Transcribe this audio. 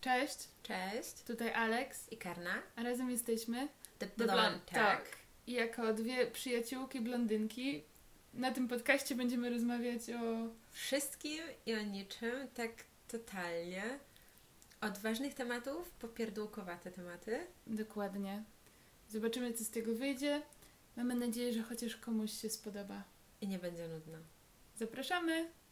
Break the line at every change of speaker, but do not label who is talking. Cześć,
Cześć.
tutaj Alex,
I Karna.
a razem jesteśmy
The
The
Blonde,
Blonde,
tak.
tak. i jako dwie przyjaciółki blondynki na tym podcaście będziemy rozmawiać o...
Wszystkim i o niczym, tak totalnie. Od ważnych tematów po pierdółkowate tematy.
Dokładnie. Zobaczymy, co z tego wyjdzie. Mamy nadzieję, że chociaż komuś się spodoba.
I nie będzie nudno.
Zapraszamy!